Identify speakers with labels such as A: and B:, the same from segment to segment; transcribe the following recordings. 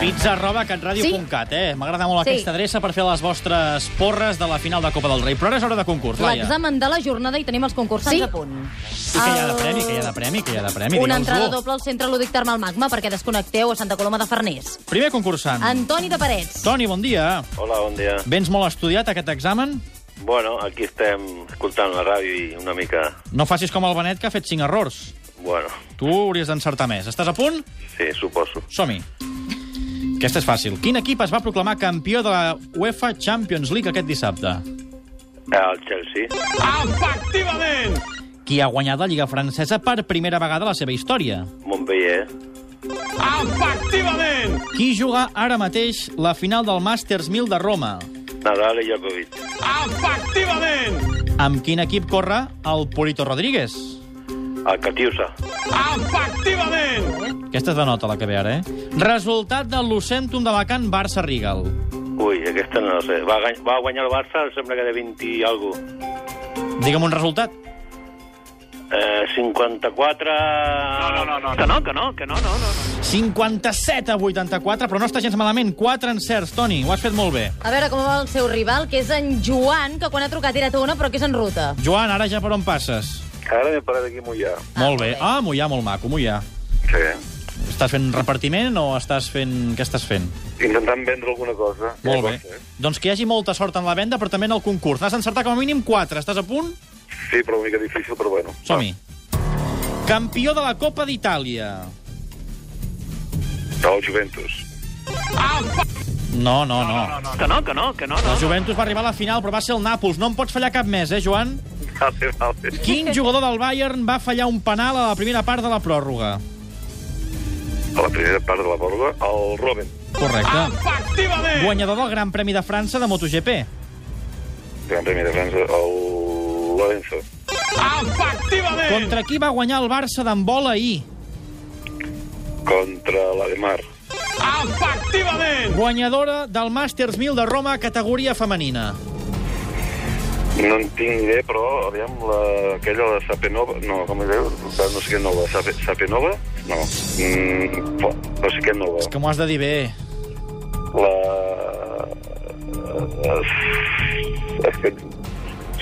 A: Pizza arroba catradio.cat, eh? M'agrada molt
B: Sí.
A: aquesta adreça per fer les vostres porres de la final de Copa del Rei. Però ara és hora de concurs, Laia.
C: L'examen de la jornada i tenim els concursants
B: Sí?
C: a punt.
A: I que hi ha de premi, que hi ha de premi, que hi ha de premi.
C: Una
A: digue'ls-ho.
C: entrada doble al Centre Lúdic Termal Magma perquè desconnecteu a Santa Coloma de Farners.
A: Primer concursant.
C: Antoni de Parets.
A: Toni, bon dia.
D: Hola, bon dia.
A: Vens molt estudiat aquest examen?
D: Bueno, aquí estem escoltant la ràdio i una mica...
A: No facis com el Benet, que ha fet cinc errors.
D: Bueno,
A: Tu hauries d'encertar més. Estàs a punt?
D: sí, suposo.
A: Som-hi. Aquesta és fàcil. Quin equip es va proclamar campió de la UEFA Champions League aquest dissabte?
D: Eh, El Chelsea.
A: Qui ha guanyat la Lliga Francesa per primera vegada a la seva història?
D: Montpellier.
A: Qui juga ara mateix la final del Masters 1000 de Roma?
D: Nadal i Djokovic.
A: Amb quin equip corre el Polito Rodríguez?
D: El Catiusa.
A: Aquesta és de nota, la que ve ara, eh? Resultat del Lucentum de Alacant Barça-Rigal.
D: Ui, aquesta no la sé. Va, gany- va guanyar el Barça, em sembla que de 20 i algo.
A: Digue'm un resultat.
D: Eh, 54... No, no, no, no. Que no, que no, que no, no. no.
A: 57 a 84, però no està gens malament. 4 encerts, Toni, ho has fet molt bé.
C: A veure com va el seu rival, que és en Joan, que quan ha trucat era una, però que és en ruta.
A: Joan, ara ja per on passes?
D: Ara m'he parat aquí a mullar.
A: molt bé.
C: molt bé.
A: Ah, mullar, molt maco, mullar.
D: Sí.
A: Estàs fent repartiment o estàs fent... Què estàs fent?
D: Intentant vendre alguna cosa.
A: molt bé. Doncs que hi hagi molta sort en la venda, però també en el concurs. N'has d'encertar com a mínim 4. Estàs a punt?
D: Sí, però una mica difícil, però bueno.
A: Som-hi. Campió de la Copa d'Itàlia.
D: El Juventus.
A: No, no, no.
D: No, que no, que no, que no.
A: La Juventus va arribar a la final, però va ser el Nàpols. No en pots fallar cap més, eh, Joan?
D: Vale, vale.
A: Quin jugador del Bayern va fallar un penal a la primera part de la pròrroga?
D: A la primera part de la borda, el Robin.
A: Correcte.
D: Ah!
A: Guanyador del Gran Premi de França de MotoGP.
D: Gran Premi de França, el Lorenzo.
A: Contra qui va guanyar el Barça d'en Bola ahir?
D: Contra la de Mar.
A: Guanyadora del Masters 1000 de Roma, categoria femenina.
D: No en tinc idea, però, aviam, la, aquella, la Sapenova... No, com es diu? La No sé què nova. Sape, Sapenova? No. Mm, fa- no sé què nova.
A: És que m'ho has de dir bé.
D: La... eh, És que...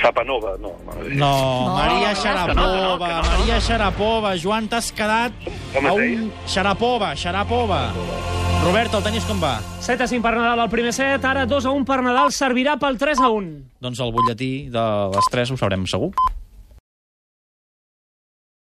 D: Sapanova, no.
A: No, Maria
D: no, no,
A: Sharapova, Maria Sharapova. Joan, t'has quedat
D: Com
A: a
D: es
A: un... Sharapova, Sharapova. Robert, el tenis com va?
E: 7 a 5 per Nadal al primer set, ara 2 a 1 per Nadal, servirà pel 3 a 1.
A: Doncs el butlletí de les 3 ho sabrem segur.